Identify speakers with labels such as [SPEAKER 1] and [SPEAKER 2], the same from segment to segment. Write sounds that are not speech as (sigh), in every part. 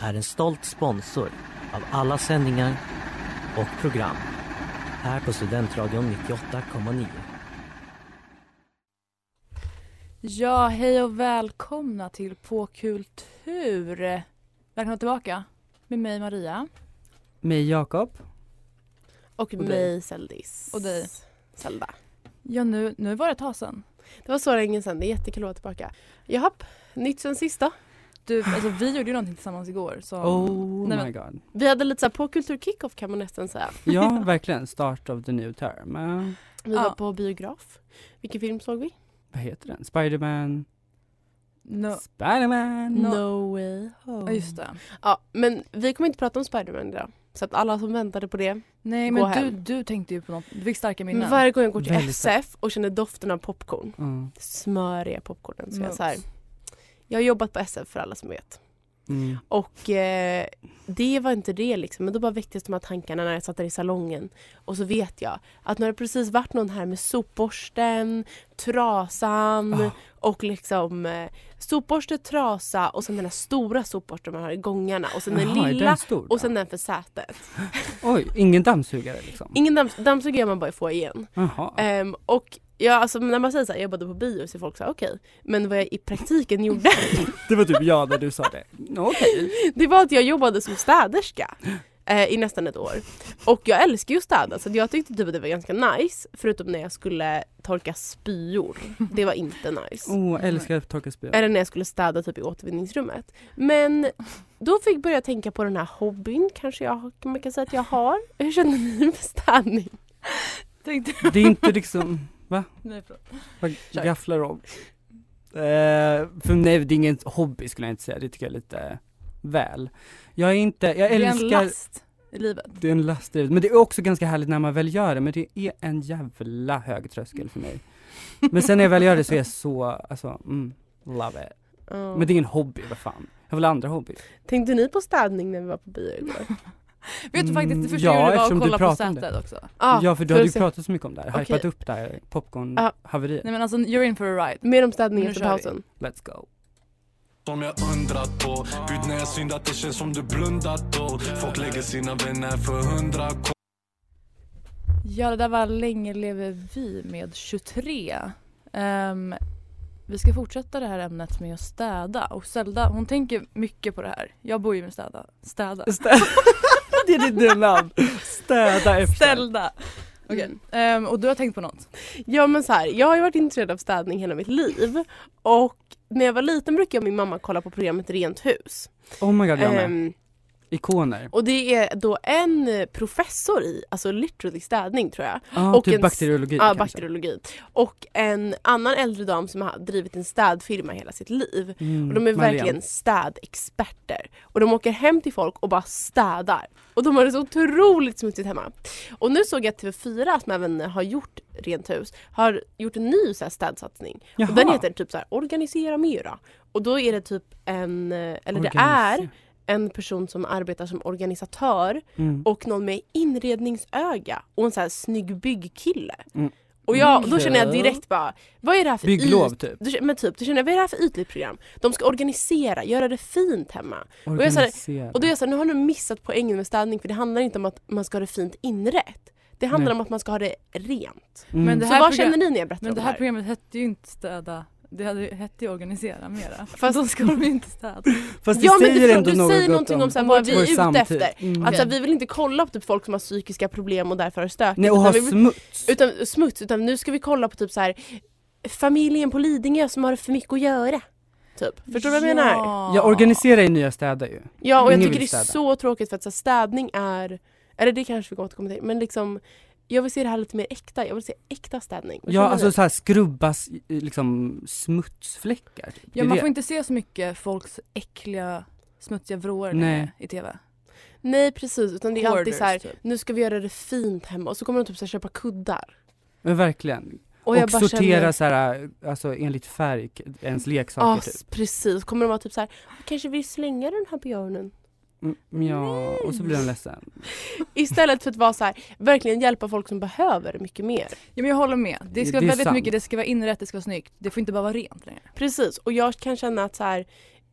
[SPEAKER 1] är en stolt sponsor av alla sändningar och program här på Studentradion 98,9.
[SPEAKER 2] Ja, hej och välkomna till På kultur. Välkomna tillbaka med mig Maria.
[SPEAKER 3] Mig Jakob.
[SPEAKER 4] Och mig Seldis.
[SPEAKER 2] Och dig.
[SPEAKER 4] Zelda.
[SPEAKER 2] Ja, nu, nu var det ett tag sedan.
[SPEAKER 4] Det var så länge sedan, det är jättekul att vara tillbaka. Japp, nytt sen sist då.
[SPEAKER 2] Du, alltså, vi gjorde ju någonting tillsammans igår. Så...
[SPEAKER 3] Oh
[SPEAKER 2] nej,
[SPEAKER 3] my god.
[SPEAKER 4] Vi hade lite så här på kultur kickoff kan man nästan säga.
[SPEAKER 2] (laughs)
[SPEAKER 3] Ja, verkligen. Start of the new term. Eh,
[SPEAKER 4] Vi
[SPEAKER 2] Ja.
[SPEAKER 4] var på biograf. Vilken film såg vi?
[SPEAKER 3] vad heter den? Spiderman?
[SPEAKER 2] No.
[SPEAKER 3] Spiderman!
[SPEAKER 2] No.
[SPEAKER 4] way
[SPEAKER 2] Ja, just det.
[SPEAKER 4] Ja, men vi kommer inte prata om Spiderman idag. Så att alla som väntade på det.
[SPEAKER 2] Nej,
[SPEAKER 4] Gå
[SPEAKER 2] men du,
[SPEAKER 4] hem.
[SPEAKER 2] du tänkte ju på något. Du fick starka minnen.
[SPEAKER 4] Men varje gång jag går till
[SPEAKER 3] Väldigt
[SPEAKER 4] SF och känner doften av popcorn.
[SPEAKER 3] Mm.
[SPEAKER 4] Smöriga popcornen. Så jag,
[SPEAKER 2] Mums.
[SPEAKER 4] så här, jag har jobbat på SF för alla som vet.
[SPEAKER 3] Mm.
[SPEAKER 4] Och eh, det var inte det liksom. Men då bara väcktes de här tankarna när jag satt där i salongen. Och så vet jag att nu har det precis varit någon här med sopborsten, trasan
[SPEAKER 3] Ah.
[SPEAKER 4] och liksom eh, sopborste, trasa och sen den här stora sopborsten man har i gångarna och sen den
[SPEAKER 3] Jaha, är
[SPEAKER 4] lilla
[SPEAKER 3] den stor då?
[SPEAKER 4] och sen den för sätet.
[SPEAKER 3] Oj, ingen dammsugare liksom?
[SPEAKER 4] Ingen damms- dammsugare gör man bara i få igen.
[SPEAKER 3] Jaha.
[SPEAKER 4] Ehm, och ja, alltså, när man säger så här, jag jobbade på bio så är folk så här, okej. Men vad jag i praktiken gjorde
[SPEAKER 3] (laughs) Det var typ jag när du sa det. Okej.
[SPEAKER 4] Det var att jag jobbade som städerska eh, i nästan ett år. Och jag älskar ju att städa så att jag tyckte typ att det var ganska nice. Förutom när jag skulle torka spyor. Det var inte nice.
[SPEAKER 3] Åh, jag älskar att torka spyor.
[SPEAKER 4] Eller när jag skulle städa typ i återvinningsrummet. Men då fick jag börja tänka på den här hobbyn kanske jag kan man kan säga att jag har. Hur känner ni med städning?
[SPEAKER 2] Tänkte...
[SPEAKER 3] Det är inte liksom, va?
[SPEAKER 2] Nej, förlåt.
[SPEAKER 3] Vad
[SPEAKER 2] Kör.
[SPEAKER 3] gafflar om? Eh, för nej, det är ingen hobby skulle jag inte säga. Det tycker jag är lite väl. Jag är inte, jag
[SPEAKER 2] Det är en
[SPEAKER 3] älskar
[SPEAKER 2] last i livet.
[SPEAKER 3] Det är en lastdrivet, men det är också ganska härligt när man väl gör det, men det är en jävla hög tröskel för mig. Men sen när jag väl gör det så är jag så, alltså, mm, love it.
[SPEAKER 4] Ja.
[SPEAKER 3] Men det är ingen hobby, vad fan. Jag vill ha andra hobbyer.
[SPEAKER 4] Tänkte ni på städning när vi var på bio
[SPEAKER 3] (laughs)
[SPEAKER 4] igår?
[SPEAKER 2] Vet du faktiskt, det första
[SPEAKER 3] ja,
[SPEAKER 2] jag gjorde var att
[SPEAKER 3] eftersom du
[SPEAKER 2] kolla på
[SPEAKER 3] pratade om det.
[SPEAKER 2] sätet också.
[SPEAKER 4] Ah,
[SPEAKER 3] ja, för du hade ju
[SPEAKER 4] att se-
[SPEAKER 3] pratat så mycket om det här,
[SPEAKER 4] Okej.
[SPEAKER 3] hypat upp det här
[SPEAKER 4] Ja.
[SPEAKER 3] popcorn-haveriet.
[SPEAKER 2] Nej men alltså, you're in for a ride.
[SPEAKER 4] Mer om städning
[SPEAKER 2] Nu
[SPEAKER 4] efter
[SPEAKER 2] kör vi.
[SPEAKER 4] pausen.
[SPEAKER 3] Let's go.
[SPEAKER 5] Som jag undrat på Gud när jag syndat det känns som du blundat då Folk lägger sina vänner för hundra k
[SPEAKER 2] Ja, det där var Länge lever vi med 23. Ehm, vi ska fortsätta det här ämnet med att städa. Och Zelda, hon tänker mycket på det här. Jag bor ju med städa. Städa.
[SPEAKER 3] Stä- (laughs) det är ditt nya namn. Städa efter.
[SPEAKER 2] Ställda. Okej.
[SPEAKER 4] Mm.
[SPEAKER 2] Ehm, och du har tänkt på något?
[SPEAKER 4] Ja men så här, jag har ju varit intresserad av städning hela mitt liv och när jag var liten brukade jag och min mamma kolla på programmet Rent hus.
[SPEAKER 3] Oh my god, jag med.
[SPEAKER 4] Ehm,
[SPEAKER 3] Ikoner.
[SPEAKER 4] och det är då en eh, professor i, alltså literally städning tror jag,
[SPEAKER 3] Ah,
[SPEAKER 4] och
[SPEAKER 3] typ
[SPEAKER 4] en s-
[SPEAKER 3] bakteriologi
[SPEAKER 4] ja,
[SPEAKER 3] kanske.
[SPEAKER 4] bakteriologi. Och en annan äldre dam som har drivit en städfirma hela sitt liv.
[SPEAKER 3] Mm,
[SPEAKER 4] Och de är
[SPEAKER 3] Marlene.
[SPEAKER 4] verkligen städexperter. Och de åker hem till folk och bara städar. Och de har det så otroligt smutsigt hemma. Och nu såg jag att TV4 som även har gjort Rent hus har gjort en ny så här städsatsning. Och den
[SPEAKER 3] Jaha.
[SPEAKER 4] heter typ så här Organisera Myra. Och då är det typ en, eller det är
[SPEAKER 3] Organisera.
[SPEAKER 4] en person som arbetar som organisatör
[SPEAKER 3] Mm.
[SPEAKER 4] och någon med inredningsöga och en så här snygg byggkille.
[SPEAKER 3] Mm.
[SPEAKER 4] Och jag, då känner jag
[SPEAKER 3] Okej.
[SPEAKER 4] direkt bara, vad är det här för
[SPEAKER 3] Bygglov
[SPEAKER 4] yt-
[SPEAKER 3] typ.
[SPEAKER 4] Du, men typ, du känner, vad är det här för ytligt program? De ska organisera, göra det fint hemma. Och jag sa det-
[SPEAKER 3] Organisera.
[SPEAKER 4] Och då är jag så här, nu har du missat poängen med städning för det handlar inte om att man ska ha det fint inrätt. Det handlar
[SPEAKER 3] Nej.
[SPEAKER 4] om att man ska ha det rent.
[SPEAKER 3] Mm.
[SPEAKER 2] Men det
[SPEAKER 4] Så
[SPEAKER 2] här
[SPEAKER 4] vad
[SPEAKER 2] program-
[SPEAKER 4] känner ni när jag berättar
[SPEAKER 2] Men
[SPEAKER 4] om
[SPEAKER 2] det här programmet hette ju inte städa Det hade ju hett ju
[SPEAKER 3] (laughs)
[SPEAKER 2] organisera mera.
[SPEAKER 4] Fast-
[SPEAKER 2] Fast då ska de ju inte städa.
[SPEAKER 3] Fast
[SPEAKER 4] Ja,
[SPEAKER 3] det
[SPEAKER 4] men
[SPEAKER 3] säger
[SPEAKER 4] du,
[SPEAKER 3] ändå
[SPEAKER 4] du
[SPEAKER 3] något
[SPEAKER 4] säger
[SPEAKER 3] gott
[SPEAKER 4] någonting om så här, vad vi
[SPEAKER 3] vår
[SPEAKER 4] är ute
[SPEAKER 3] samtid.
[SPEAKER 4] efter.
[SPEAKER 3] Mm.
[SPEAKER 4] Att så här, Alltså, vi vill inte kolla på typ folk som har psykiska problem och därför har det stökigt.
[SPEAKER 3] Nej och
[SPEAKER 4] utan
[SPEAKER 3] ha
[SPEAKER 4] vi vill-
[SPEAKER 3] smuts.
[SPEAKER 4] utan smuts, utan nu ska vi kolla på typ så här familjen på Lidingö som har för mycket att göra. Typ. Förstår du vad jag menar?
[SPEAKER 3] Jag organiserar ju nya städer ju.
[SPEAKER 4] Ja, och jag
[SPEAKER 3] Ingen
[SPEAKER 4] tycker det
[SPEAKER 3] vill städa.
[SPEAKER 4] är så tråkigt för att så här, städning är, eller det kanske vi kan återkomma till, men liksom jag vill se det här lite mer äkta, jag vill se äkta städning. Vad
[SPEAKER 3] Ja
[SPEAKER 4] känner ni?
[SPEAKER 3] alltså såhär skrubbas eh, liksom smutsfläckar. typ. Det
[SPEAKER 2] Ja,
[SPEAKER 3] är
[SPEAKER 2] man
[SPEAKER 3] det.
[SPEAKER 2] får inte se så mycket folks äckliga smutsiga vrår
[SPEAKER 3] Nej.
[SPEAKER 2] längre i tv.
[SPEAKER 4] Nej precis, utan det är alltid
[SPEAKER 2] Hoarders,
[SPEAKER 4] så här,
[SPEAKER 2] typ.
[SPEAKER 4] nu ska vi göra det fint hemma och så kommer de typ så här, köpa kuddar.
[SPEAKER 3] Men verkligen.
[SPEAKER 4] Och,
[SPEAKER 3] Och,
[SPEAKER 4] jag bara
[SPEAKER 3] sortera
[SPEAKER 4] känner,
[SPEAKER 3] så här, alltså enligt färg, ens leksaker
[SPEAKER 4] ja
[SPEAKER 3] typ.
[SPEAKER 4] precis, kommer de vara typ så här, kanske vi slänga den här björnen?
[SPEAKER 3] Mm, ja, och så blir de ledsen.
[SPEAKER 4] Istället för att vara så här, verkligen hjälpa folk som behöver mycket mer.
[SPEAKER 2] Ja, men jag håller med. Det
[SPEAKER 3] Det
[SPEAKER 2] ska
[SPEAKER 3] är
[SPEAKER 2] vara väldigt
[SPEAKER 3] sant.
[SPEAKER 2] mycket, det ska vara inrätt, det ska vara snyggt. Det får inte bara vara rent längre.
[SPEAKER 4] Precis, och jag kan känna att så här,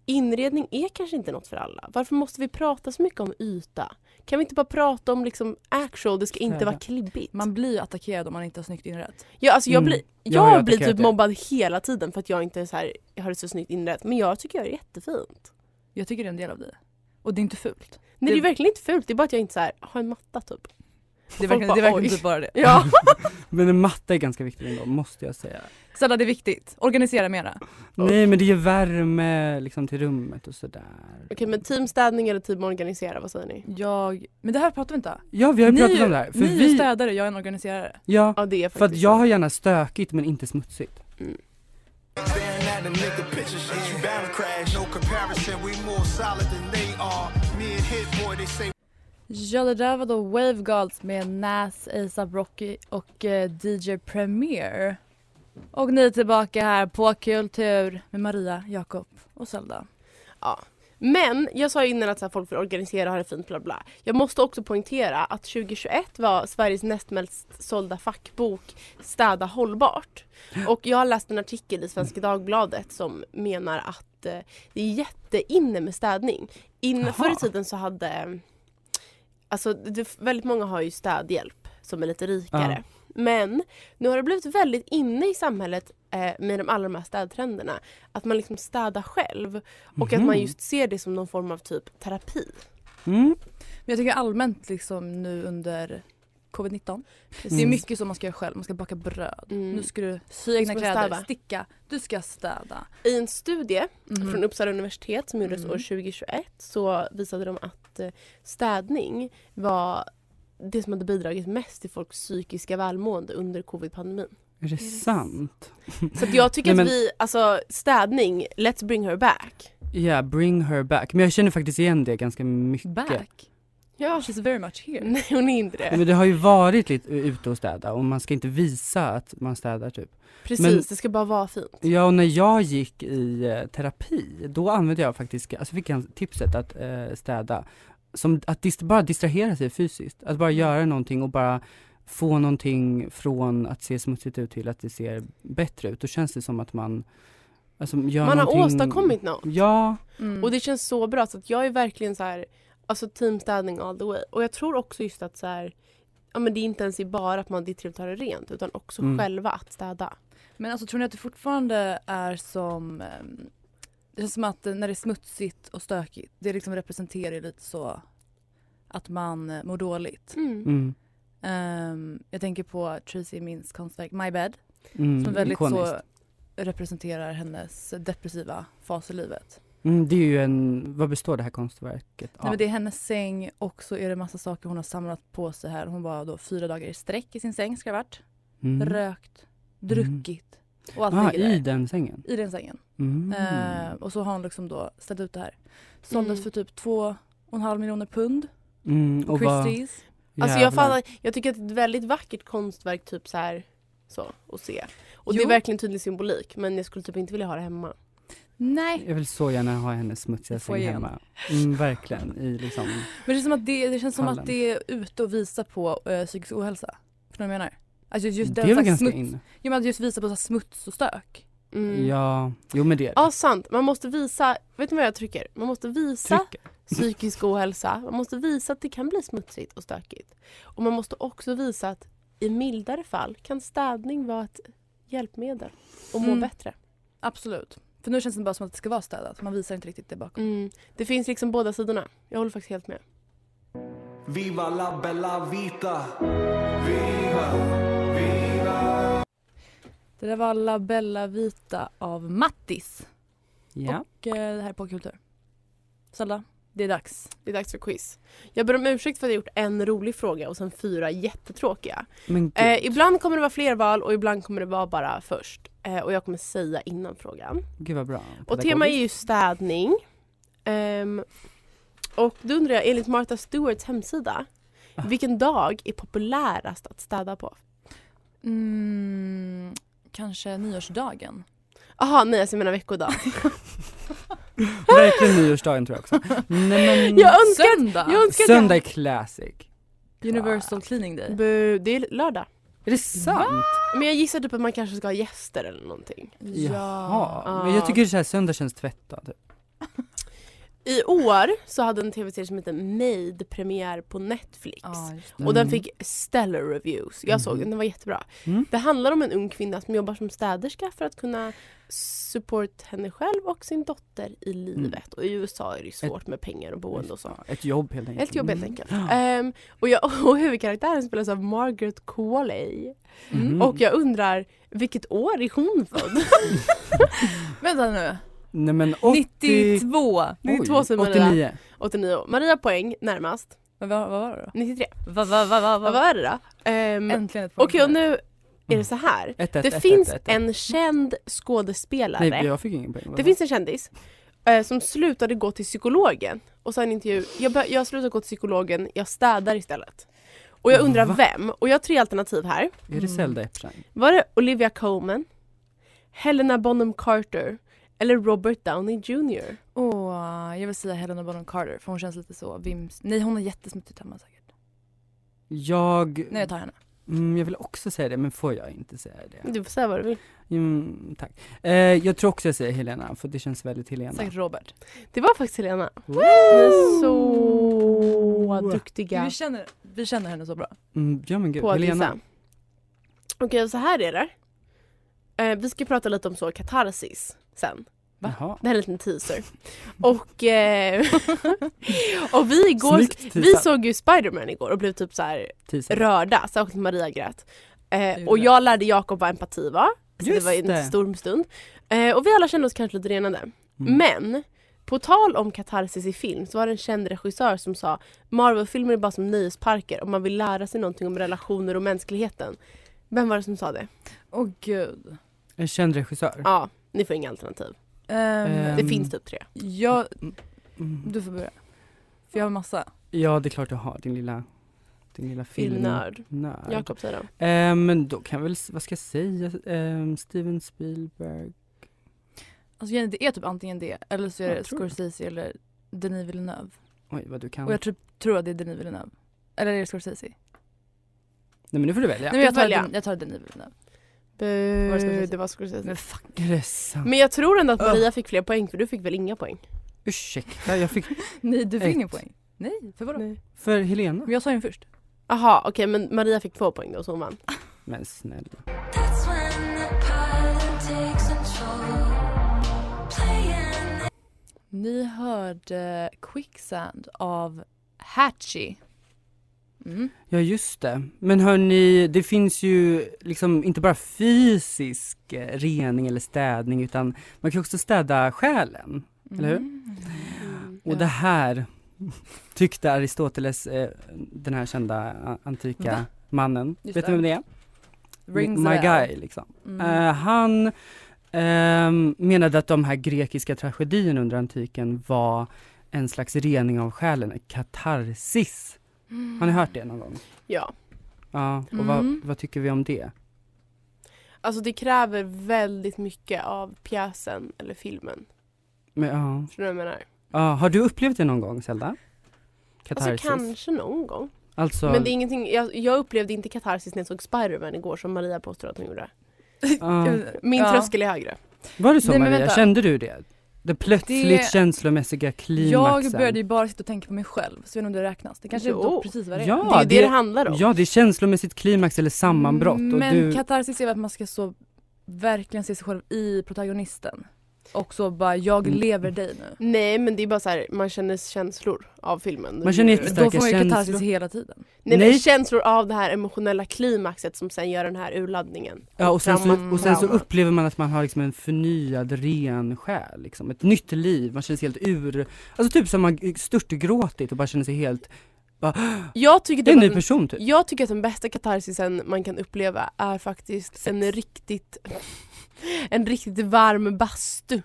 [SPEAKER 4] inredning är kanske inte något för alla. Varför måste vi prata så mycket om yta? Kan vi inte bara prata om liksom actual, det ska inte
[SPEAKER 3] Städa.
[SPEAKER 4] vara klibbigt.
[SPEAKER 2] Man blir ju attackerad om man inte har snyggt inrett.
[SPEAKER 4] Ja, alltså jag
[SPEAKER 3] Mm.
[SPEAKER 4] blir,
[SPEAKER 3] Jag har ju
[SPEAKER 4] jag blir
[SPEAKER 3] attackerat
[SPEAKER 4] typ
[SPEAKER 3] det.
[SPEAKER 4] mobbad hela tiden för att jag inte är så här, jag har det så snyggt inrett. Men jag tycker jag är jättefint.
[SPEAKER 2] Jag tycker det är en del av dig. Och det är inte fult.
[SPEAKER 4] Nej det, är
[SPEAKER 2] Det-
[SPEAKER 4] är verkligen inte fult, det är bara att jag inte så här, har en matta typ.
[SPEAKER 2] Det är
[SPEAKER 4] Folk bara,
[SPEAKER 2] verkligen, det är verkligen
[SPEAKER 4] "Oj."
[SPEAKER 2] typ bara det.
[SPEAKER 4] Ja.
[SPEAKER 3] Men en matta är ganska viktig ändå, måste jag säga.
[SPEAKER 2] Ställa, det är viktigt. Organisera mera.
[SPEAKER 3] Nej men det ger värme liksom till rummet och sådär.
[SPEAKER 4] Okej men teamstädning eller team organisera, vad säger ni?
[SPEAKER 2] Jag... Men det här pratar vi inte om.
[SPEAKER 3] Ja vi har ju
[SPEAKER 2] Ni
[SPEAKER 3] pratat
[SPEAKER 2] är-
[SPEAKER 3] om det här. För
[SPEAKER 2] Ni är
[SPEAKER 3] vi,
[SPEAKER 2] städare, jag är en organiserare.
[SPEAKER 3] ja,
[SPEAKER 4] Ja det är faktiskt
[SPEAKER 3] för att jag
[SPEAKER 4] så.
[SPEAKER 3] har gärna stökigt men inte smutsigt.
[SPEAKER 6] Staring at them nigga pictures, shit, you bound to crash. No comparison, we more solid than they are. Me and Hit Boy, they say
[SPEAKER 2] Ja, det där var då Wave Gods med Nas, ASAP Rocky och eh, DJ Premier. Och ni är tillbaka här på Kultur med Maria, Jakob och Zelda.
[SPEAKER 4] Men jag sa ju innan att så här, folk vill organisera och ha det fint bla bla. Jag måste också poängtera att 2021 var Sveriges näst mest sålda fackbok Städa hållbart. Och jag har läst en artikel i Svenska Dagbladet som menar att eh, det är jätteinne med städning. In,
[SPEAKER 3] Jaha.
[SPEAKER 4] förr i tiden så hade eh, Alltså det, väldigt många har ju städhjälp som är lite rikare. Men nu har det blivit väldigt inne i samhället eh, med de alla de här städtrenderna. Att man liksom städar själv och att man
[SPEAKER 3] Mhm.
[SPEAKER 4] just ser det som någon form av typ terapi.
[SPEAKER 3] Mm.
[SPEAKER 2] Men jag tycker allmänt liksom nu under covid-19, det är
[SPEAKER 3] Mm.
[SPEAKER 2] mycket som man ska göra själv. Man ska baka bröd,
[SPEAKER 4] Mm.
[SPEAKER 2] nu ska du sy egna
[SPEAKER 4] ska
[SPEAKER 2] kläder,
[SPEAKER 4] städa.
[SPEAKER 2] sticka, du ska städa.
[SPEAKER 4] I en studie
[SPEAKER 2] Mhm.
[SPEAKER 4] från Uppsala universitet som gjordes
[SPEAKER 2] Mm.
[SPEAKER 4] år 2021 så visade de att eh, städning var det som hade bidragit mest till folks psykiska välmående under covid-pandemin.
[SPEAKER 3] Är det sant?
[SPEAKER 4] Så att jag tycker
[SPEAKER 3] Nej,
[SPEAKER 4] att
[SPEAKER 3] men-
[SPEAKER 4] vi, alltså städning, let's bring her back.
[SPEAKER 3] Ja, bring her back. Men jag känner faktiskt igen det ganska mycket.
[SPEAKER 2] Back,
[SPEAKER 4] Ja.
[SPEAKER 2] she's very much here.
[SPEAKER 4] Nej hon är inte det.
[SPEAKER 3] Men det har ju varit lite ute och städa och man ska inte visa att man städar typ.
[SPEAKER 4] Precis,
[SPEAKER 3] Men-
[SPEAKER 4] det ska bara vara fint.
[SPEAKER 3] Ja, och när jag gick i eh, terapi, då använde jag faktiskt, alltså fick jag tipset att eh, städa, som att dist- bara distrahera sig fysiskt, att bara göra någonting och bara få någonting från att se smutsigt ut till att det ser bättre ut. Då känns det som att man, alltså gör
[SPEAKER 4] Man har
[SPEAKER 3] någonting...
[SPEAKER 4] åstadkommit något.
[SPEAKER 3] Ja,
[SPEAKER 2] Mm.
[SPEAKER 4] Och det känns så bra så att jag är verkligen så här, alltså teamstädning all the way. Och jag tror också just att så här, ja men det är inte ens bara att man det är trevligt att ha det rent utan också
[SPEAKER 3] Mm.
[SPEAKER 4] själva att städa.
[SPEAKER 2] Men alltså tror ni att det fortfarande är som ehm, Det känns som att eh, när det är smutsigt och stökigt det liksom representerar ju lite så att man eh, mår dåligt.
[SPEAKER 4] Mm.
[SPEAKER 3] mm,
[SPEAKER 2] Ehm, jag tänker på Tracy Mins konstverk My Bed
[SPEAKER 3] mm,
[SPEAKER 2] som väldigt
[SPEAKER 3] ikoniskt.
[SPEAKER 2] så representerar hennes depressiva fas i livet.
[SPEAKER 3] Mm, det är ju en, vad består det här konstverket
[SPEAKER 2] Nej, men det är hennes säng och så är det massa saker hon har samlat på sig här. Hon var då fyra dagar i sträck i sin säng ska det ha varit.
[SPEAKER 3] Mm.
[SPEAKER 2] Rökt, druckit och allt
[SPEAKER 3] ah,
[SPEAKER 2] ligger
[SPEAKER 3] i
[SPEAKER 2] där.
[SPEAKER 3] den sängen?
[SPEAKER 2] I den sängen.
[SPEAKER 3] Mm.
[SPEAKER 2] Eh, och så har hon liksom då ställt ut det här. Såldes
[SPEAKER 4] Mm.
[SPEAKER 2] för typ två och en halv miljoner pund
[SPEAKER 3] Mm,
[SPEAKER 2] på
[SPEAKER 3] och vad-
[SPEAKER 2] Christie's.
[SPEAKER 4] Alltså jag,
[SPEAKER 3] jävlar.
[SPEAKER 4] fattar, jag tycker att det är ett väldigt vackert konstverk typ så här så att se. Och det är
[SPEAKER 2] Jo.
[SPEAKER 4] verkligen tydlig symbolik men jag skulle typ inte vilja ha det hemma.
[SPEAKER 2] Nej,
[SPEAKER 3] Jag vill så gärna ha hennes smutsiga
[SPEAKER 2] Du får
[SPEAKER 3] säng
[SPEAKER 2] igen.
[SPEAKER 3] hemma. Mm, verkligen. I liksom,
[SPEAKER 2] men det känns som att det, det, känns som
[SPEAKER 3] Hallen.
[SPEAKER 2] att det är ute och visar på eh, psykisk ohälsa. Förstår du vad jag menar? Alltså just, just
[SPEAKER 3] det är väl
[SPEAKER 2] den slags
[SPEAKER 3] ganska
[SPEAKER 2] smuts.
[SPEAKER 3] in.
[SPEAKER 2] Jo, men att just visa på så här smuts och stök.
[SPEAKER 4] Mm.
[SPEAKER 3] Ja, jo men det är
[SPEAKER 4] Ja
[SPEAKER 3] det.
[SPEAKER 4] sant, man måste visa, vet ni vad jag trycker? Man måste visa
[SPEAKER 3] Tryck.
[SPEAKER 4] psykisk ohälsa. Man måste visa att det kan bli smutsigt och stökigt. Och man måste också visa att i mildare fall kan städning vara ett hjälpmedel och må
[SPEAKER 2] Mm.
[SPEAKER 4] bättre.
[SPEAKER 2] Absolut. För nu känns det bara som att det ska vara städat. Man visar inte riktigt det bakom.
[SPEAKER 4] Mm. Det finns liksom båda sidorna. Jag håller faktiskt helt med.
[SPEAKER 5] Viva la bella vita.
[SPEAKER 2] Det där var La Bella Vita av Mattis.
[SPEAKER 3] Ja.
[SPEAKER 2] Och eh, det här är på kultur. Zelda, det är dags.
[SPEAKER 4] Det är dags för quiz. Jag ber om ursäkt för att jag gjort en rolig fråga och sen fyra jättetråkiga.
[SPEAKER 3] Men gud.
[SPEAKER 4] Eh, ibland kommer det vara fler val och ibland kommer det vara bara först. Eh, och jag kommer säga innan frågan.
[SPEAKER 3] Gud vad bra.
[SPEAKER 4] Och tema är ju städning. Ehm, och då undrar jag, enligt Martha Stewarts hemsida,
[SPEAKER 3] Ah.
[SPEAKER 4] vilken dag är populärast att städa på?
[SPEAKER 2] Mm, kanske nyårsdagen.
[SPEAKER 4] Jaha, nej alltså jag menar veckodag.
[SPEAKER 3] Pedagogiskt. Verkligen nyårsdagen tror jag också. Nej, men...
[SPEAKER 4] (laughs) (laughs) Jag önskar att-
[SPEAKER 2] Söndag!
[SPEAKER 4] jag önskar att jag-
[SPEAKER 3] Söndag är classic.
[SPEAKER 2] Universal Cleaning Day.
[SPEAKER 4] Bu, det är lördag.
[SPEAKER 3] Är det sant?
[SPEAKER 4] Men jag gissar typ att man kanske ska ha gäster eller någonting.
[SPEAKER 3] Jaha. Men jag tycker så här, söndag känns tvättad. typ.
[SPEAKER 4] I år så hade en tv-serie som heter Maid premiär på Netflix.
[SPEAKER 2] Ja, just det.
[SPEAKER 4] Och den fick stellar reviews. Jag såg den, den var jättebra.
[SPEAKER 3] Mm.
[SPEAKER 4] Det handlar om en ung kvinna som jobbar som städerska för att kunna support henne själv och sin dotter i livet. Och i USA är det ju svårt med pengar och boende och så.
[SPEAKER 3] Ja, Ett jobb helt enkelt.
[SPEAKER 4] Ett jobb helt
[SPEAKER 3] Mm.
[SPEAKER 4] enkelt. Ehm, och, jag, (laughs) och huvudkaraktären spelas av Margaret Qualley.
[SPEAKER 3] Mm.
[SPEAKER 4] Och jag undrar, vilket år är hon född?
[SPEAKER 2] Vänta nu.
[SPEAKER 3] Nej men 80...
[SPEAKER 2] 92!
[SPEAKER 4] Det är
[SPEAKER 3] Oj,
[SPEAKER 4] två som är
[SPEAKER 3] 89.
[SPEAKER 4] 89. Maria poäng närmast,
[SPEAKER 2] Men vad, vad var det då?
[SPEAKER 4] 93.
[SPEAKER 2] Va, va, va, va,
[SPEAKER 4] Vad
[SPEAKER 2] va.
[SPEAKER 4] var det då? Ehm,
[SPEAKER 2] Äntligen ett
[SPEAKER 4] (laughs) Okej och nu är det så här.
[SPEAKER 3] Ett, ett,
[SPEAKER 4] Det
[SPEAKER 3] ett,
[SPEAKER 4] finns
[SPEAKER 3] ett, ett, ett.
[SPEAKER 4] en känd skådespelare.
[SPEAKER 3] Nej jag fick ingen poäng.
[SPEAKER 4] det finns en kändis eh, som slutade gå till psykologen och sa i en intervju, jag, bör- jag slutar gå till psykologen, jag städar istället. Och jag undrar
[SPEAKER 3] Va?
[SPEAKER 4] vem? Och jag har tre alternativ här.
[SPEAKER 3] Är det Zelda Epstein?
[SPEAKER 4] Var det Olivia Colman, Helena Bonham Carter eller Robert Downey Jr?
[SPEAKER 2] Åh, jag vill säga Helena Bonham Carter för hon känns lite så vims... Nej hon har jättesmutsigt hemma säkert.
[SPEAKER 3] Jag...
[SPEAKER 2] Nej jag tar henne.
[SPEAKER 3] Mm, jag vill också säga det men får jag inte säga det?
[SPEAKER 4] Du får säga vad du vill.
[SPEAKER 3] Mm, tack. Eh, jag tror också jag säger Helena för det känns väldigt Helena.
[SPEAKER 2] Säkert Robert.
[SPEAKER 4] Det var faktiskt Helena.
[SPEAKER 3] Woo!
[SPEAKER 4] Ni är så
[SPEAKER 3] Oh.
[SPEAKER 4] duktiga
[SPEAKER 2] Vi, känner, vi känner henne så bra.
[SPEAKER 3] Mm, ja men gud,
[SPEAKER 4] på att
[SPEAKER 3] Helena.
[SPEAKER 4] gissa. Okej, så här är det. Eh, vi ska prata lite om så katarsis sen. Va?
[SPEAKER 3] Jaha.
[SPEAKER 4] Det här är en liten teaser. Och, eh, (laughs) och vi igår,
[SPEAKER 3] Snyggt
[SPEAKER 4] vi
[SPEAKER 3] teaser.
[SPEAKER 4] såg ju Spiderman igår och blev typ så här
[SPEAKER 3] teaser.
[SPEAKER 4] rörda, särskilt Maria grät. Eh,
[SPEAKER 2] gjorde
[SPEAKER 4] och
[SPEAKER 2] jag.
[SPEAKER 4] jag lärde Jakob vad empati var, så det
[SPEAKER 3] Just
[SPEAKER 4] var en
[SPEAKER 3] det.
[SPEAKER 4] stor stund. Eh, och vi alla kände oss kanske lite renade.
[SPEAKER 3] Mm.
[SPEAKER 4] Men, på tal om katarsis i film så var det en känd regissör som sa Marvel-filmer är bara som nöjesparker om man vill lära sig någonting om relationer och mänskligheten. Vem var det som sa
[SPEAKER 3] Mm.
[SPEAKER 4] det?
[SPEAKER 2] Åh gud.
[SPEAKER 3] En känd regissör.
[SPEAKER 4] Ja, ni får inga alternativ.
[SPEAKER 2] Ehm,
[SPEAKER 3] Ehm.
[SPEAKER 4] Det
[SPEAKER 3] Mm.
[SPEAKER 4] finns typ tre.
[SPEAKER 2] jag,
[SPEAKER 3] Mm.
[SPEAKER 2] du får börja. För jag har massa.
[SPEAKER 3] Ja det är klart du har din lilla, din lilla film.
[SPEAKER 4] Filmnörd.
[SPEAKER 3] Nörd.
[SPEAKER 4] Jakob säger det.
[SPEAKER 3] Eh, men då kan jag väl, s- vad ska jag säga, eh, Steven Spielberg.
[SPEAKER 2] Alltså grejen är, det är typ antingen det eller så är
[SPEAKER 3] Jag
[SPEAKER 2] det
[SPEAKER 3] tror det.
[SPEAKER 2] Scorsese eller Denis Villeneuve.
[SPEAKER 3] Oj vad du kan.
[SPEAKER 2] Och jag typ tror att det är Denis Villeneuve. Eller är det Scorsese?
[SPEAKER 3] Nej men nu får du välja.
[SPEAKER 2] Nej men jag tar,
[SPEAKER 4] välja.
[SPEAKER 2] Den, jag tar Denis Villeneuve. Vad ska jag
[SPEAKER 4] Bu,
[SPEAKER 2] säga?
[SPEAKER 4] det var Scorsese.
[SPEAKER 2] Men fuck.
[SPEAKER 3] Är det sant?
[SPEAKER 4] Men jag tror ändå att Maria fick fler poäng för du fick väl inga poäng?
[SPEAKER 3] Ursäkta, jag fick,
[SPEAKER 2] Nej du fick
[SPEAKER 3] Ett.
[SPEAKER 2] ingen poäng. Nej, för vadå?
[SPEAKER 4] Nej.
[SPEAKER 3] för Helena.
[SPEAKER 2] Men jag sa den först.
[SPEAKER 4] Aha, okej men Maria fick två poäng då så hon vann.
[SPEAKER 3] Men snälla.
[SPEAKER 7] That's when the pilot takes control. Playing
[SPEAKER 2] Ni hörde Quicksand av Hatchy. Mm.
[SPEAKER 3] Ja just det. Men hörni, det finns ju liksom inte bara fysisk eh, rening eller städning utan man kan ju också städa själen. Eller hur?
[SPEAKER 2] Mm.
[SPEAKER 4] Mm.
[SPEAKER 3] Och
[SPEAKER 2] Ja.
[SPEAKER 3] det här (laughs) tyckte Aristoteles, eh, den här kända a- antika
[SPEAKER 2] Va?
[SPEAKER 3] mannen.
[SPEAKER 2] Just
[SPEAKER 3] Vet
[SPEAKER 2] det.
[SPEAKER 3] du vem det är?
[SPEAKER 2] Rings
[SPEAKER 3] My
[SPEAKER 2] a bell.
[SPEAKER 3] guy liksom.
[SPEAKER 2] Mm.
[SPEAKER 3] Eh, han ehm, menade att de här grekiska tragedierna under antiken var en slags rening av själen, en katarsis. Har ni hört det någon gång?
[SPEAKER 4] Ja.
[SPEAKER 3] Ja, och vad,
[SPEAKER 2] Mm.
[SPEAKER 3] vad tycker vi om det?
[SPEAKER 4] Alltså det kräver väldigt mycket av pjäsen eller filmen.
[SPEAKER 3] Men, ja.
[SPEAKER 4] Förstår du vad jag menar?
[SPEAKER 3] Ja, har du upplevt det någon gång Zelda?
[SPEAKER 2] Alltså,
[SPEAKER 3] Katarsis?
[SPEAKER 4] Alltså kanske någon gång.
[SPEAKER 3] Alltså,
[SPEAKER 4] Men det är ingenting, jag, jag upplevde inte katarsis när jag såg Spiderman igår som Maria påstår att hon gjorde.
[SPEAKER 3] ja.
[SPEAKER 4] Min
[SPEAKER 2] Ja.
[SPEAKER 4] tröskel är högre.
[SPEAKER 3] var det så
[SPEAKER 2] Nej, men
[SPEAKER 3] Maria,
[SPEAKER 2] vänta.
[SPEAKER 3] kände du det? Det plötsligt
[SPEAKER 2] Det-
[SPEAKER 3] känslomässiga klimaxen?
[SPEAKER 2] Jag började ju bara sitta och tänka på mig själv, så jag vet inte om det räknas. Det kanske är
[SPEAKER 4] Jo.
[SPEAKER 2] då precis vad det är.
[SPEAKER 3] Ja,
[SPEAKER 4] det är ju det det, handlar om.
[SPEAKER 3] Ja, det är känslomässigt klimax eller sammanbrott och
[SPEAKER 2] Mm, Men
[SPEAKER 3] du...
[SPEAKER 2] katarsis är väl att man ska så verkligen se sig själv i protagonisten. Och så bara, jag
[SPEAKER 3] Mm.
[SPEAKER 2] lever dig nu.
[SPEAKER 4] Nej men det är bara så här, man känner känslor av filmen.
[SPEAKER 3] Man känner jättestarkt- Starka
[SPEAKER 2] Då får man ju katarsis
[SPEAKER 3] känslor.
[SPEAKER 2] hela tiden.
[SPEAKER 4] Nej, men
[SPEAKER 3] Nej.
[SPEAKER 4] känslor av det här emotionella klimaxet som sen gör den här urladdningen.
[SPEAKER 3] Ja, och sen,
[SPEAKER 4] Trauma-
[SPEAKER 3] så, och sen så
[SPEAKER 4] trauma.
[SPEAKER 3] upplever man att man har liksom en förnyad, ren själ, liksom. ett nytt liv, man känner sig helt ur, alltså typ som man störtgråtit och bara känner sig helt,
[SPEAKER 4] Jag tycker
[SPEAKER 3] det är en ny
[SPEAKER 4] det var,
[SPEAKER 3] person typ.
[SPEAKER 4] jag tycker att den bästa katarsisen man kan uppleva är faktiskt en riktigt (laughs) en riktigt varm bastu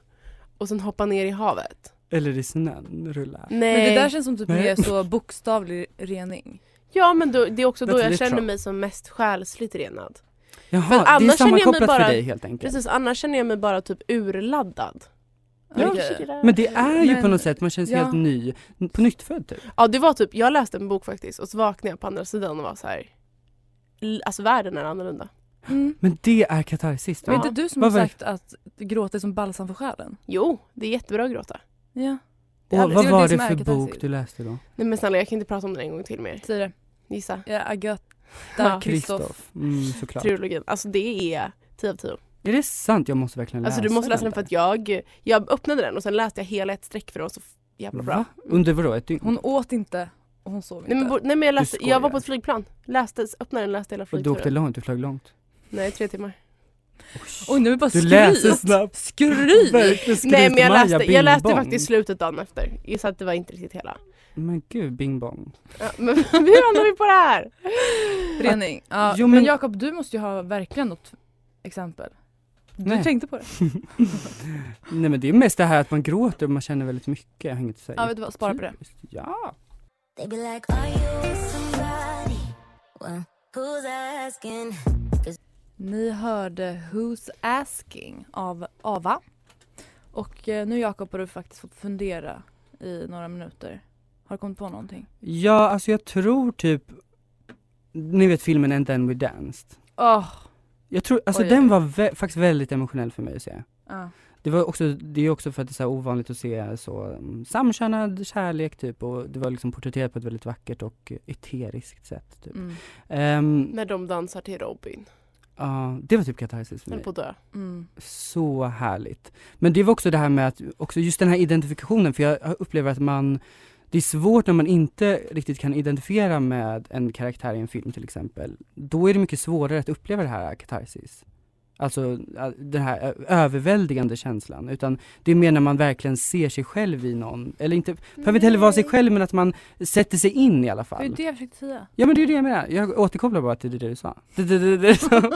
[SPEAKER 4] och sen hoppa ner i havet.
[SPEAKER 3] Eller i snön, rulla.
[SPEAKER 4] Nej.
[SPEAKER 2] Men det där känns som typ
[SPEAKER 3] Nej.
[SPEAKER 2] mer så bokstavlig rening.
[SPEAKER 4] Ja men då, det är också då
[SPEAKER 3] That's
[SPEAKER 4] jag
[SPEAKER 3] literal.
[SPEAKER 4] känner mig som mest själsligt renad.
[SPEAKER 3] Jaha, det är
[SPEAKER 4] annars känner jag mig
[SPEAKER 3] sammankopplat
[SPEAKER 4] bara-
[SPEAKER 3] för dig helt enkelt.
[SPEAKER 4] Precis, annars känner jag mig bara typ urladdad.
[SPEAKER 3] Ja,
[SPEAKER 2] Okej.
[SPEAKER 3] Men det är ju på
[SPEAKER 2] Men-
[SPEAKER 3] något sätt, man känner sig
[SPEAKER 2] ja.
[SPEAKER 3] helt ny, på nytt född typ.
[SPEAKER 4] Ja det var typ, jag läste en bok faktiskt och så vaknade jag på andra sidan och var så här. l- Alltså världen är annorlunda.
[SPEAKER 2] Mm.
[SPEAKER 3] Men det är katarsis
[SPEAKER 2] Var
[SPEAKER 3] då.
[SPEAKER 2] det inte du som har
[SPEAKER 3] Vad var det?
[SPEAKER 2] sagt att gråta är som balsam för själen?
[SPEAKER 4] Jo, det är jättebra att gråta.
[SPEAKER 2] Ja, det är
[SPEAKER 3] Och
[SPEAKER 2] alldeles-
[SPEAKER 3] vad
[SPEAKER 2] det är
[SPEAKER 3] var
[SPEAKER 2] det
[SPEAKER 3] det
[SPEAKER 2] som är
[SPEAKER 3] för
[SPEAKER 2] katarsis.
[SPEAKER 3] bok du läste då?
[SPEAKER 4] Nej men snälla jag kan inte prata om den en gång till mer.
[SPEAKER 2] säg det.
[SPEAKER 4] Gissa.
[SPEAKER 2] Ja, Agatha
[SPEAKER 4] Ja.
[SPEAKER 2] Kristoff.
[SPEAKER 3] Mm, såklart.
[SPEAKER 4] Trilogin. Alltså det är 10 av 10.
[SPEAKER 3] Är det sant? Jag måste verkligen läsa
[SPEAKER 4] Alltså du måste läsa den för
[SPEAKER 3] där.
[SPEAKER 4] att jag, jag öppnade den och sen läste jag hela ett streck för det var så f- jävla bra.
[SPEAKER 3] Va? Under vadå, ett dygn?
[SPEAKER 2] Hon åt inte och hon sov inte.
[SPEAKER 4] Nej men, bo- nej, men jag, läste,
[SPEAKER 3] skojar.
[SPEAKER 4] jag var på ett flygplan. Läste, öppnade den, läste hela
[SPEAKER 3] Och du åkte
[SPEAKER 4] flygturen.
[SPEAKER 3] långt, du flög långt.
[SPEAKER 4] Nej, tre timmar.
[SPEAKER 2] Oj nu är det bara
[SPEAKER 3] Du
[SPEAKER 2] skryt.
[SPEAKER 3] läser snabbt.
[SPEAKER 2] Skryt!
[SPEAKER 3] Verkligen skryt,
[SPEAKER 4] Nej men jag
[SPEAKER 3] Maja
[SPEAKER 4] läste, jag läste
[SPEAKER 3] Bing Bong.
[SPEAKER 4] faktiskt slutet dagen efter. Så att det var inte riktigt hela.
[SPEAKER 3] Men gud, Bing Bong.
[SPEAKER 4] Ja, men (laughs) hur hamnar vi på det här?
[SPEAKER 2] Rening. Ja,
[SPEAKER 3] Jo,
[SPEAKER 2] men
[SPEAKER 3] men-
[SPEAKER 2] Jakob du måste ju ha verkligen något exempel. Du
[SPEAKER 3] Nej.
[SPEAKER 2] tänkte på det.
[SPEAKER 3] Nej men det är mest det här att man gråter och man känner väldigt mycket, jag har inget att säga.
[SPEAKER 2] Ja vet du vad, spara på det.
[SPEAKER 3] Typiskt. Ja!
[SPEAKER 7] They be like, Are you with somebody? Well, who's asking?
[SPEAKER 2] Ni hörde Who's Asking av Ava. Och eh, nu Jakob har du faktiskt fått fundera i några minuter. Har du kommit på någonting?
[SPEAKER 3] Ja, alltså jag tror typ, ni vet filmen And then we danced.
[SPEAKER 2] Åh!
[SPEAKER 3] Jag tror, alltså
[SPEAKER 2] Oj, oj,
[SPEAKER 3] den
[SPEAKER 2] oj.
[SPEAKER 3] var vä- faktiskt väldigt emotionell för mig att se.
[SPEAKER 2] ja.
[SPEAKER 3] Det var också, det är också för att det är så här ovanligt att se så mm, samkönad kärlek typ och det var liksom porträtterat på ett väldigt vackert och eteriskt sätt typ.
[SPEAKER 2] Mm.
[SPEAKER 3] Ehm,
[SPEAKER 4] När de dansar till Robin.
[SPEAKER 3] ja, det var typ katarsis för
[SPEAKER 4] Höll
[SPEAKER 3] mig.
[SPEAKER 4] på att dö.
[SPEAKER 2] Mm.
[SPEAKER 3] Så härligt. Men det var också det här med att, också just den här identifikationen, för jag upplever att man, det är svårt när man inte riktigt kan identifiera med en karaktär i en film till exempel. Då är det mycket svårare att uppleva det här katarsis. Alltså äh, den här ö- överväldigande känslan, utan det är mer när man verkligen ser sig själv i någon, eller inte, behöver inte heller vara sig själv men att man sätter sig in i alla
[SPEAKER 2] Det är ju
[SPEAKER 3] fall.
[SPEAKER 2] det jag försökte säga.
[SPEAKER 3] Ja men det är ju det jag menar, jag återkopplar bara till det du sa. Det- det- det- det- (laughs) så.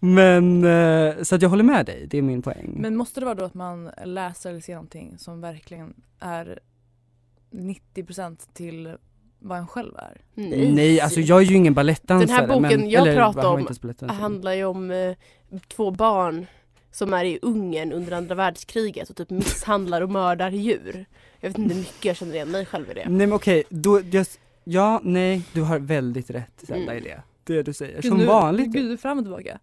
[SPEAKER 3] men, eh, så att jag håller med dig, det är min poäng.
[SPEAKER 2] Men måste det vara då att man läser eller ser någonting som verkligen är 90% till vad en själv är?
[SPEAKER 3] Nej, alltså jag är ju ingen balettdansare.
[SPEAKER 4] Den här boken
[SPEAKER 3] men,
[SPEAKER 4] jag
[SPEAKER 3] eller,
[SPEAKER 4] pratar
[SPEAKER 3] har
[SPEAKER 4] om
[SPEAKER 3] inte ens balettdansare.
[SPEAKER 4] handlar ju om eh, två barn som är i Ungern under andra världskriget och typ misshandlar och mördar djur. Jag vet inte hur mycket jag känner igen mig själv i det.
[SPEAKER 3] Nej men okej, då, jag, ja, nej, du har väldigt rätt Zelda
[SPEAKER 4] Mm.
[SPEAKER 3] i det. Det du säger,
[SPEAKER 2] Gud,
[SPEAKER 3] som
[SPEAKER 2] nu-
[SPEAKER 3] vanligt.
[SPEAKER 2] Gud, du är fram och tillbaka.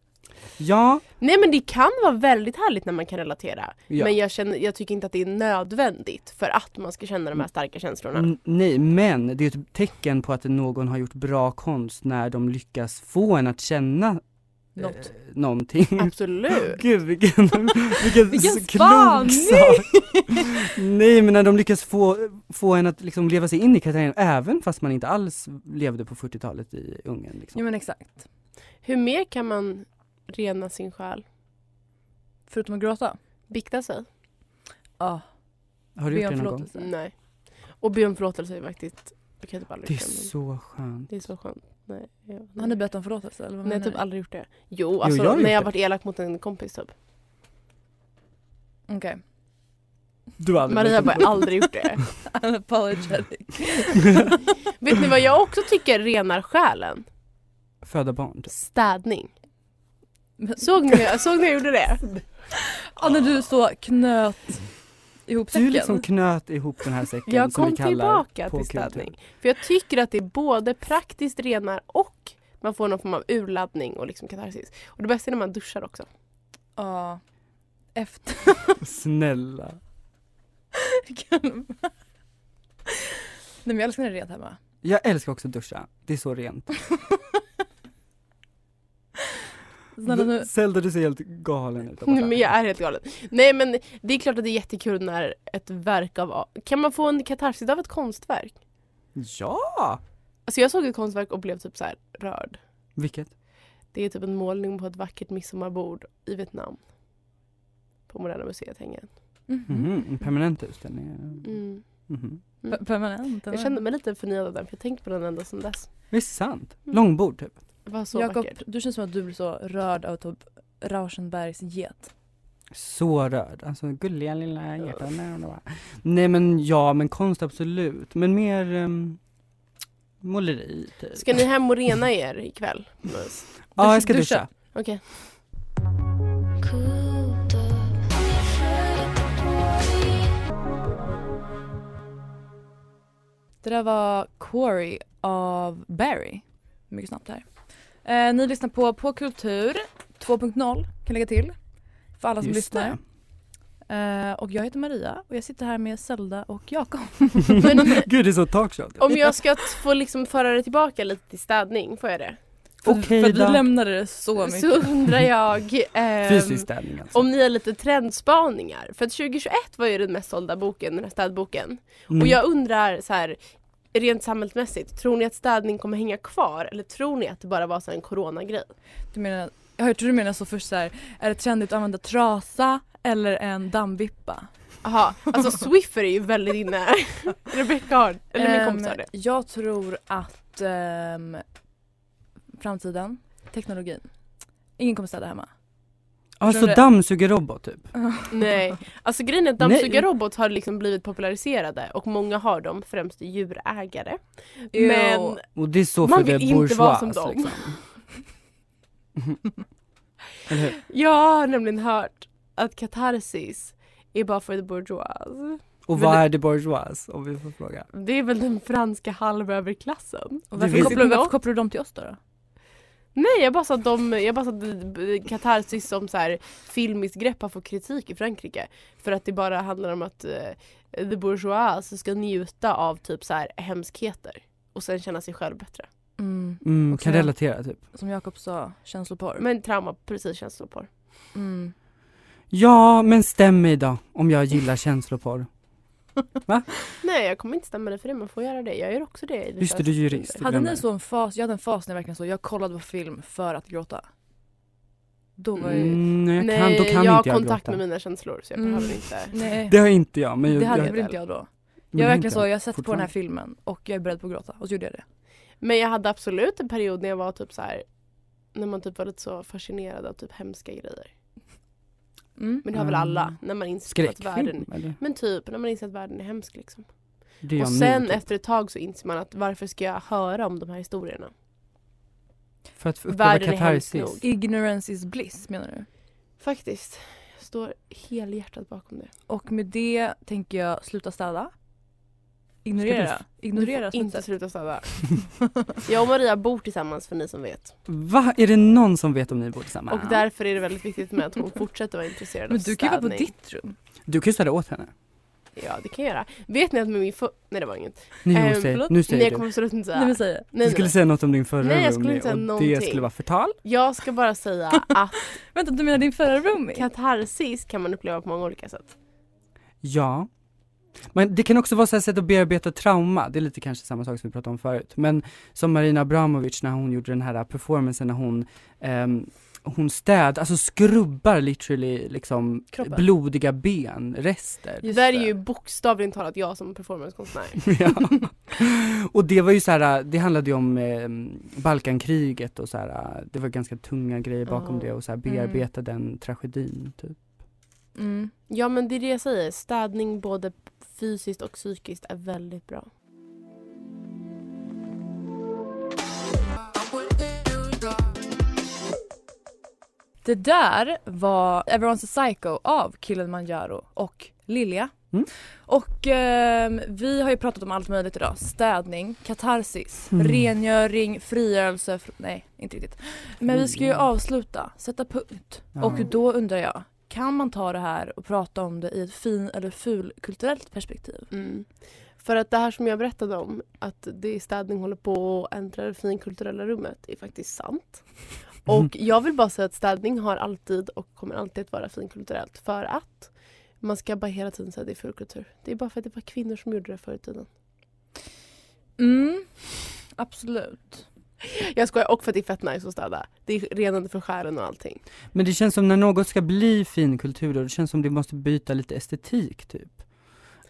[SPEAKER 3] Ja,
[SPEAKER 4] Nej men det kan vara väldigt härligt när man kan relatera.
[SPEAKER 3] ja.
[SPEAKER 4] Men jag, känner, jag tycker inte att det är nödvändigt för att man ska känna de här starka känslorna.
[SPEAKER 3] N- Nej, men det är ju ett tecken på att någon har gjort bra konst när de lyckas få en att känna
[SPEAKER 2] Något.
[SPEAKER 3] Eh, någonting.
[SPEAKER 4] Absolut.
[SPEAKER 3] Gud vilken, vilken,
[SPEAKER 2] Vilken
[SPEAKER 3] klok
[SPEAKER 2] spaning!
[SPEAKER 3] sak. Nej men när de lyckas få, få en att liksom leva sig in i Katarina även fast man inte alls levde på 40-talet i Ungern. Liksom.
[SPEAKER 2] Jo men exakt.
[SPEAKER 4] Hur mer kan man rena sin själ?
[SPEAKER 2] Förutom att gråta.
[SPEAKER 4] Bikta sig?
[SPEAKER 2] Ja.
[SPEAKER 3] Har du
[SPEAKER 2] Be
[SPEAKER 3] gjort
[SPEAKER 2] om
[SPEAKER 3] det någon gång?
[SPEAKER 2] förlåtelse.
[SPEAKER 4] Nej. Och be om förlåtelse är faktiskt... Jag kan typ
[SPEAKER 3] Det är
[SPEAKER 4] aldrig känna-
[SPEAKER 3] så skönt.
[SPEAKER 4] det är så skönt. Nej, jag,
[SPEAKER 2] Har ni bett om förlåtelse eller vad
[SPEAKER 4] Nej, jag
[SPEAKER 2] menar
[SPEAKER 4] har typ
[SPEAKER 2] ni?
[SPEAKER 4] aldrig gjort det. Jo, alltså
[SPEAKER 3] jag har
[SPEAKER 4] när
[SPEAKER 3] gjort
[SPEAKER 4] jag
[SPEAKER 3] det.
[SPEAKER 4] varit elak mot en kompis typ.
[SPEAKER 2] Okej.
[SPEAKER 3] Du har
[SPEAKER 4] Maria har bara aldrig gjort det.
[SPEAKER 3] (laughs)
[SPEAKER 2] I'm apologetic.
[SPEAKER 4] Vet ni vad jag också tycker renar själen?
[SPEAKER 3] Föda barn typ.
[SPEAKER 4] Städning.
[SPEAKER 2] Men-
[SPEAKER 4] Såg ni, såg ni jag gjorde det?
[SPEAKER 2] Ja när du så knöt ihop säcken.
[SPEAKER 3] Du liksom knöt ihop den här säcken
[SPEAKER 4] Jag
[SPEAKER 3] som
[SPEAKER 4] kom
[SPEAKER 3] vi kallar
[SPEAKER 4] tillbaka
[SPEAKER 3] på
[SPEAKER 4] till
[SPEAKER 3] kultur.
[SPEAKER 4] städning. För jag tycker att det är både praktiskt renar och man får någon form av urladdning och liksom katarsis. Och det bästa är när man duschar också.
[SPEAKER 2] Ja. Efter.
[SPEAKER 8] (laughs)
[SPEAKER 3] Snälla.
[SPEAKER 2] Nej men jag älskar när det är rent hemma.
[SPEAKER 3] Jag älskar också duscha, det är så rent.
[SPEAKER 8] (laughs) Snälla nu.
[SPEAKER 3] Zelda du ser helt galen ut.
[SPEAKER 9] Nej, men jag är helt galen. Nej men det är klart att det är jättekul när ett verk av... Kan man få en katarsis av ett konstverk?
[SPEAKER 3] Ja!
[SPEAKER 9] Alltså jag såg ett konstverk och blev typ så här rörd.
[SPEAKER 3] Vilket?
[SPEAKER 9] Det är typ en målning på ett vackert midsommarbord i Vietnam. På Moderna Museet hänger
[SPEAKER 3] Mhm, en permanent utställning.
[SPEAKER 9] mm.
[SPEAKER 3] Mhm.
[SPEAKER 8] P- Permanent.
[SPEAKER 9] Jag kände mig lite förnyad av den för jag har tänkt på den ända sedan dess.
[SPEAKER 3] Det är sant.
[SPEAKER 9] Mm.
[SPEAKER 3] Långbord typ.
[SPEAKER 9] Det var så
[SPEAKER 8] Jakob,
[SPEAKER 9] vackert.
[SPEAKER 8] du känns som att du blir så rörd av typ Rauschenbergs get.
[SPEAKER 3] Så rörd. Alltså gulliga lilla hjärtan. Nej, men det var- Nej men ja, men konst absolut. Men mer um, måleri typ.
[SPEAKER 9] Ska ni hem och rena er ikväll?
[SPEAKER 3] ja, jag ska
[SPEAKER 8] duscha?
[SPEAKER 3] duscha.
[SPEAKER 9] Okej.
[SPEAKER 4] Cooped up,
[SPEAKER 8] Det där var Quarry av Barry. Mycket snabbt här. Eh, ni lyssnar på På Kultur 2.0 kan lägga till.
[SPEAKER 9] alltså,
[SPEAKER 8] För alla som
[SPEAKER 3] Just
[SPEAKER 8] lyssnar.
[SPEAKER 3] det.
[SPEAKER 8] Eh, och jag heter Maria och jag sitter här med Zelda och Jakob. (laughs)
[SPEAKER 3] (laughs)
[SPEAKER 9] Men-
[SPEAKER 3] Gud, det är så talkshow.
[SPEAKER 9] Om jag ska t- få liksom föra det tillbaka lite till städning, får jag det?
[SPEAKER 3] Okej
[SPEAKER 8] för att vi
[SPEAKER 3] då.
[SPEAKER 8] lämnade det så mycket.
[SPEAKER 9] Så undrar jag ehm,
[SPEAKER 3] Fysisk städning alltså.
[SPEAKER 9] om ni har lite trendspaningar. För att 2021 var ju den mest sålda boken, den här städboken.
[SPEAKER 3] Mm.
[SPEAKER 9] Och jag undrar så här, rent samhällsmässigt, tror ni att städning kommer hänga kvar eller tror ni att det bara var så här en coronagrej?
[SPEAKER 8] Du menar, jag tror du menar så först så här, är det trendigt att använda trasa eller en dammvippa?
[SPEAKER 9] Jaha, (laughs) alltså Swiffer är ju väldigt inne. (laughs) Rebecca har, eller min kompis har
[SPEAKER 8] Ehm,
[SPEAKER 9] det.
[SPEAKER 8] Jag tror att ehm, framtiden, teknologin, ingen kommer städa hemma.
[SPEAKER 3] Alltså
[SPEAKER 8] tror det-
[SPEAKER 3] dammsugarrobot typ.
[SPEAKER 9] (laughs) Nej, alltså grejen är att
[SPEAKER 3] Nej.
[SPEAKER 9] dammsugarrobot har liksom blivit populariserade och många har dem, främst djurägare.
[SPEAKER 8] Jo.
[SPEAKER 9] Men
[SPEAKER 3] Och det är så
[SPEAKER 9] Man
[SPEAKER 3] för det
[SPEAKER 9] vill inte vara som
[SPEAKER 3] bourgeois,
[SPEAKER 9] dem.
[SPEAKER 3] liksom. (laughs) Eller hur?
[SPEAKER 9] jag har nämligen hört att katarsis är bara för the bourgeois.
[SPEAKER 3] Och
[SPEAKER 9] Men
[SPEAKER 3] vad
[SPEAKER 9] det-
[SPEAKER 3] är det bourgeois om vi får fråga?
[SPEAKER 9] Det är väl den franska halvöverklassen.
[SPEAKER 8] Och
[SPEAKER 3] det
[SPEAKER 8] varför,
[SPEAKER 3] finns
[SPEAKER 8] kopplar,
[SPEAKER 9] inte
[SPEAKER 8] varför
[SPEAKER 9] något.
[SPEAKER 8] kopplar du dem till oss då? då?
[SPEAKER 9] Nej jag bara sa att de, jag bara sa att b- katarsis som så här filmiskt grepp har fått kritik i Frankrike. För att det bara handlar om att eh, the bourgeois ska njuta av typ så här hemskheter. Och sen känna sig själv bättre.
[SPEAKER 8] Mm,
[SPEAKER 3] Mm,
[SPEAKER 8] Och
[SPEAKER 3] kan
[SPEAKER 8] så-
[SPEAKER 3] relatera typ.
[SPEAKER 8] som Jakob sa, känsloporr.
[SPEAKER 9] Men trauma, precis känslopor.
[SPEAKER 8] Mm.
[SPEAKER 3] Ja, men stäm mig då om jag gillar känsloporr.
[SPEAKER 9] Nej jag kommer inte stämma dig för det, man får göra det. Jag gör också det. i
[SPEAKER 3] Just det, du är jurist.
[SPEAKER 9] vissa
[SPEAKER 8] Hade ni
[SPEAKER 3] glömmer.
[SPEAKER 8] så en fas, jag hade en fas när jag verkligen så, jag kollade på film för att gråta. Då var jag ju...
[SPEAKER 3] Mm, nej, jag kan,
[SPEAKER 9] Nej,
[SPEAKER 3] då kan
[SPEAKER 9] jag
[SPEAKER 3] inte
[SPEAKER 9] har
[SPEAKER 3] jag
[SPEAKER 9] kontakt
[SPEAKER 3] gråta.
[SPEAKER 9] med mina känslor så jag
[SPEAKER 8] Mm.
[SPEAKER 9] behöver inte.
[SPEAKER 8] Nej,
[SPEAKER 3] Det har inte jag. Men jag,
[SPEAKER 8] det hade
[SPEAKER 3] jag,
[SPEAKER 8] väl inte jag då.
[SPEAKER 3] men
[SPEAKER 8] Jag
[SPEAKER 3] det har
[SPEAKER 8] verkligen
[SPEAKER 3] inte
[SPEAKER 8] så, jag satte på den här
[SPEAKER 3] fortfarande.
[SPEAKER 8] filmen och jag är beredd på att gråta och så gjorde jag det.
[SPEAKER 9] Men jag hade absolut en period när jag var typ så här när man typ var lite så fascinerad av typ hemska grejer.
[SPEAKER 8] Mm.
[SPEAKER 9] Men det har väl
[SPEAKER 3] Mm.
[SPEAKER 9] alla, när man inser att världen
[SPEAKER 3] Skräckfilm, eller?
[SPEAKER 9] Men typ när man inser att världen är hemsk liksom.
[SPEAKER 3] Det gör
[SPEAKER 9] Och
[SPEAKER 3] jag nu,
[SPEAKER 9] sen
[SPEAKER 3] typ.
[SPEAKER 9] efter ett tag så inser man att varför ska jag höra om de här historierna?
[SPEAKER 3] För att uppleva
[SPEAKER 9] världen är hemsk
[SPEAKER 3] katarsis.
[SPEAKER 9] nog.
[SPEAKER 8] Ignorance is bliss menar du?
[SPEAKER 9] Faktiskt. Jag står helhjärtat bakom det.
[SPEAKER 8] Och med det tänker jag sluta städa.
[SPEAKER 3] Ska
[SPEAKER 8] Ignorera.
[SPEAKER 9] Du
[SPEAKER 8] Ignorera
[SPEAKER 9] får Inte
[SPEAKER 8] smutsigt.
[SPEAKER 9] sluta
[SPEAKER 8] (laughs)
[SPEAKER 9] städa. jag och Maria bor tillsammans för ni som vet.
[SPEAKER 3] Va? Är det någon som vet om ni bor tillsammans?
[SPEAKER 9] Och därför är det väldigt viktigt med att hon fortsätter vara intresserad
[SPEAKER 8] Men
[SPEAKER 9] av
[SPEAKER 8] du kan ju vara på
[SPEAKER 9] städning.
[SPEAKER 8] ditt rum.
[SPEAKER 3] Du kan ju städa åt henne.
[SPEAKER 9] Ja det kan jag göra. Vet ni att med min för... Nej det var inget.
[SPEAKER 3] Nu,
[SPEAKER 9] Ehm,
[SPEAKER 3] säger,
[SPEAKER 9] förlåt?
[SPEAKER 3] nu
[SPEAKER 9] Nej
[SPEAKER 3] säger
[SPEAKER 9] jag
[SPEAKER 3] du.
[SPEAKER 9] kommer absolut inte säga.
[SPEAKER 8] Nej men säg det.
[SPEAKER 3] Du
[SPEAKER 9] nej,
[SPEAKER 3] skulle
[SPEAKER 9] nej.
[SPEAKER 3] säga något om din förra
[SPEAKER 9] Nej, jag skulle
[SPEAKER 3] roomie
[SPEAKER 9] inte säga
[SPEAKER 3] och det
[SPEAKER 9] någonting.
[SPEAKER 3] skulle vara förtal.
[SPEAKER 9] Jag ska bara
[SPEAKER 8] (laughs)
[SPEAKER 9] säga att
[SPEAKER 8] Vänta du menar din förra roomie?
[SPEAKER 9] katarsis kan man uppleva på många olika sätt.
[SPEAKER 3] Ja. Men det kan också vara så här sätt att bearbeta trauma, det är lite kanske samma sak som vi pratade om förut. Men som Marina Abramovic när hon gjorde den här äh, performancen när hon, ehm, hon städ, alltså skrubbar literally liksom
[SPEAKER 8] Kroppen.
[SPEAKER 3] blodiga benrester.
[SPEAKER 9] Det där är ju bokstavligen talat jag som performancekonstnär.
[SPEAKER 3] (laughs) ja. Och det var ju så här, äh, det handlade ju om eh, Balkankriget och så här, äh, det var ganska tunga grejer bakom
[SPEAKER 9] Ja. Mm.
[SPEAKER 3] det och så här bearbeta den tragedin typ.
[SPEAKER 8] Mm.
[SPEAKER 9] Ja men det är det jag säger, städning både fysiskt och psykiskt är väldigt bra.
[SPEAKER 8] Det där var Everyone's a Psycho av Killen Manjaro och Lilja.
[SPEAKER 3] Mm.
[SPEAKER 8] Och ehm, vi har ju pratat om allt möjligt idag. Städning, katarsis,
[SPEAKER 3] Mm.
[SPEAKER 8] rengöring, frigörelse. fr- Nej, inte riktigt. Men vi ska ju
[SPEAKER 3] Frigörelse.
[SPEAKER 8] avsluta, sätta punkt.
[SPEAKER 3] Ja.
[SPEAKER 8] Och då undrar jag, kan man ta det här och prata om det i ett fin eller ful kulturellt perspektiv?
[SPEAKER 9] Mm. För att det här som jag berättade om, att det är städning håller på att ändra det finkulturella rummet, är faktiskt sant.
[SPEAKER 2] Mm.
[SPEAKER 4] Och jag vill bara säga att städning har alltid och kommer alltid att vara finkulturellt för att man ska bara hela tiden säga att det är fulkultur. Det är bara för att det var kvinnor som gjorde det förr i tiden.
[SPEAKER 2] Mm, absolut.
[SPEAKER 4] Jag skojar, och för att det är fett nice att städa. Det är renande för själen och allting.
[SPEAKER 3] Men det känns som när något ska bli finkultur då, det känns som det måste byta lite estetik typ.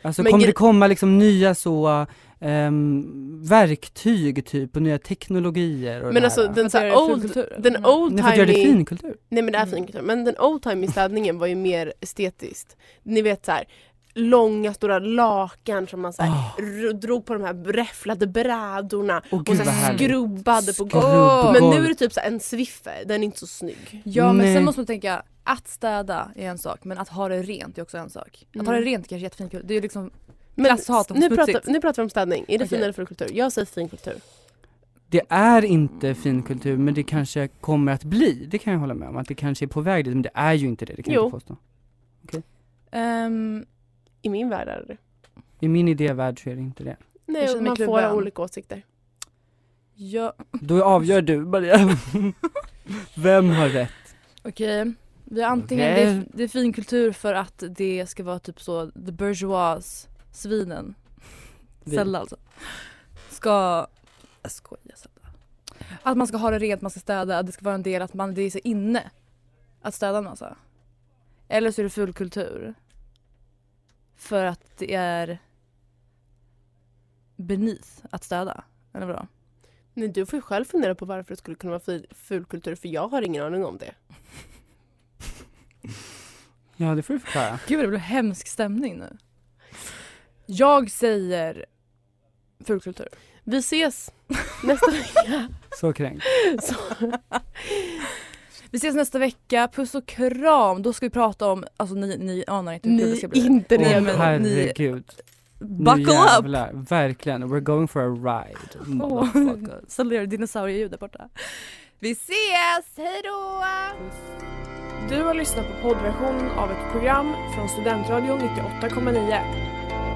[SPEAKER 3] Alltså
[SPEAKER 4] Men
[SPEAKER 3] kommer
[SPEAKER 4] gre-
[SPEAKER 3] det komma liksom nya så, ehm, verktyg typ och nya teknologier och
[SPEAKER 4] Men
[SPEAKER 3] det
[SPEAKER 4] alltså
[SPEAKER 3] här?
[SPEAKER 4] den så här old, den old
[SPEAKER 3] Nej, för att göra det
[SPEAKER 4] timey,
[SPEAKER 3] finkultur.
[SPEAKER 4] nej men det är
[SPEAKER 2] Mm.
[SPEAKER 4] finkultur, men den old timey städningen var ju mer estetiskt. Ni vet så här långa stora lakan som man så här,
[SPEAKER 3] Ah.
[SPEAKER 4] r- drog på de här räfflade brädorna
[SPEAKER 3] Åh,
[SPEAKER 4] och
[SPEAKER 3] gud
[SPEAKER 4] så
[SPEAKER 3] vad
[SPEAKER 4] här
[SPEAKER 3] härligt.
[SPEAKER 4] skrubbade på golvet.
[SPEAKER 3] Skrubb-
[SPEAKER 4] Men
[SPEAKER 3] golv.
[SPEAKER 4] nu är det typ så här en swiffer, den är inte så snygg.
[SPEAKER 2] Ja men
[SPEAKER 3] Nej.
[SPEAKER 2] sen måste man tänka att städa är en sak men att ha det rent är också en sak. Att ha det
[SPEAKER 4] Mm.
[SPEAKER 2] rent kanske är jättefint kul. Det är ju liksom,
[SPEAKER 4] Men
[SPEAKER 2] Klasshat och
[SPEAKER 4] nu
[SPEAKER 2] smutsigt.
[SPEAKER 4] pratar, nu pratar vi om städning, är det
[SPEAKER 2] Okej.
[SPEAKER 4] fin eller fulkultur? Jag säger finkultur.
[SPEAKER 3] Det är inte finkultur men det kanske kommer att bli, det kan jag hålla med om att det kanske är på väg dit men det är ju inte det, det kan
[SPEAKER 4] Jo.
[SPEAKER 3] jag inte påstå.
[SPEAKER 2] ehm,
[SPEAKER 4] I min värld är det det
[SPEAKER 3] I min idévärld så är det inte det.
[SPEAKER 2] Jag
[SPEAKER 4] Nej,
[SPEAKER 2] känner mig
[SPEAKER 4] man får
[SPEAKER 2] kluven.
[SPEAKER 4] ha olika åsikter.
[SPEAKER 2] ja,
[SPEAKER 3] Då avgör du
[SPEAKER 4] (laughs)
[SPEAKER 3] Maria. Vem har rätt?
[SPEAKER 2] okej. Vi har antingen, det är, det är finkultur för att det ska vara typ så the bourgeois, svinen,
[SPEAKER 3] Vi.
[SPEAKER 2] Sella alltså. Ska, jag skojar Sella. Att man ska ha det rent, man ska städa, att det ska vara en del att man, det är så inne att städa en massa. Eller så är det fulkultur. För att det är beneath att städa. Eller vadå?
[SPEAKER 4] Nej, du får ju själv fundera på varför det skulle kunna vara ful, fulkultur för jag har ingen aning om det.
[SPEAKER 3] Ja det får du förklara.
[SPEAKER 2] Gud det blev hemsk stämning nu. Jag säger fulkultur.
[SPEAKER 4] Vi ses (laughs) nästa vecka.
[SPEAKER 3] Så kränkt.
[SPEAKER 4] Så,
[SPEAKER 2] Vi ses nästa vecka, puss och kram. Då ska vi prata om, alltså ni, ni anar inte hur kul det
[SPEAKER 4] ni
[SPEAKER 2] ska
[SPEAKER 4] är
[SPEAKER 2] bli.
[SPEAKER 4] inte
[SPEAKER 3] Åh,
[SPEAKER 2] Nej,
[SPEAKER 4] redo.
[SPEAKER 2] men ni-
[SPEAKER 3] herregud. Nu
[SPEAKER 2] Buckle up!
[SPEAKER 3] jävlar. Verkligen, we're going for a ride. motherfuckers.
[SPEAKER 2] Saludera dinosaurieljud där borta. Vi ses, hejdå!
[SPEAKER 9] Du har lyssnat på poddversionen av ett program från Studentradion 98,9.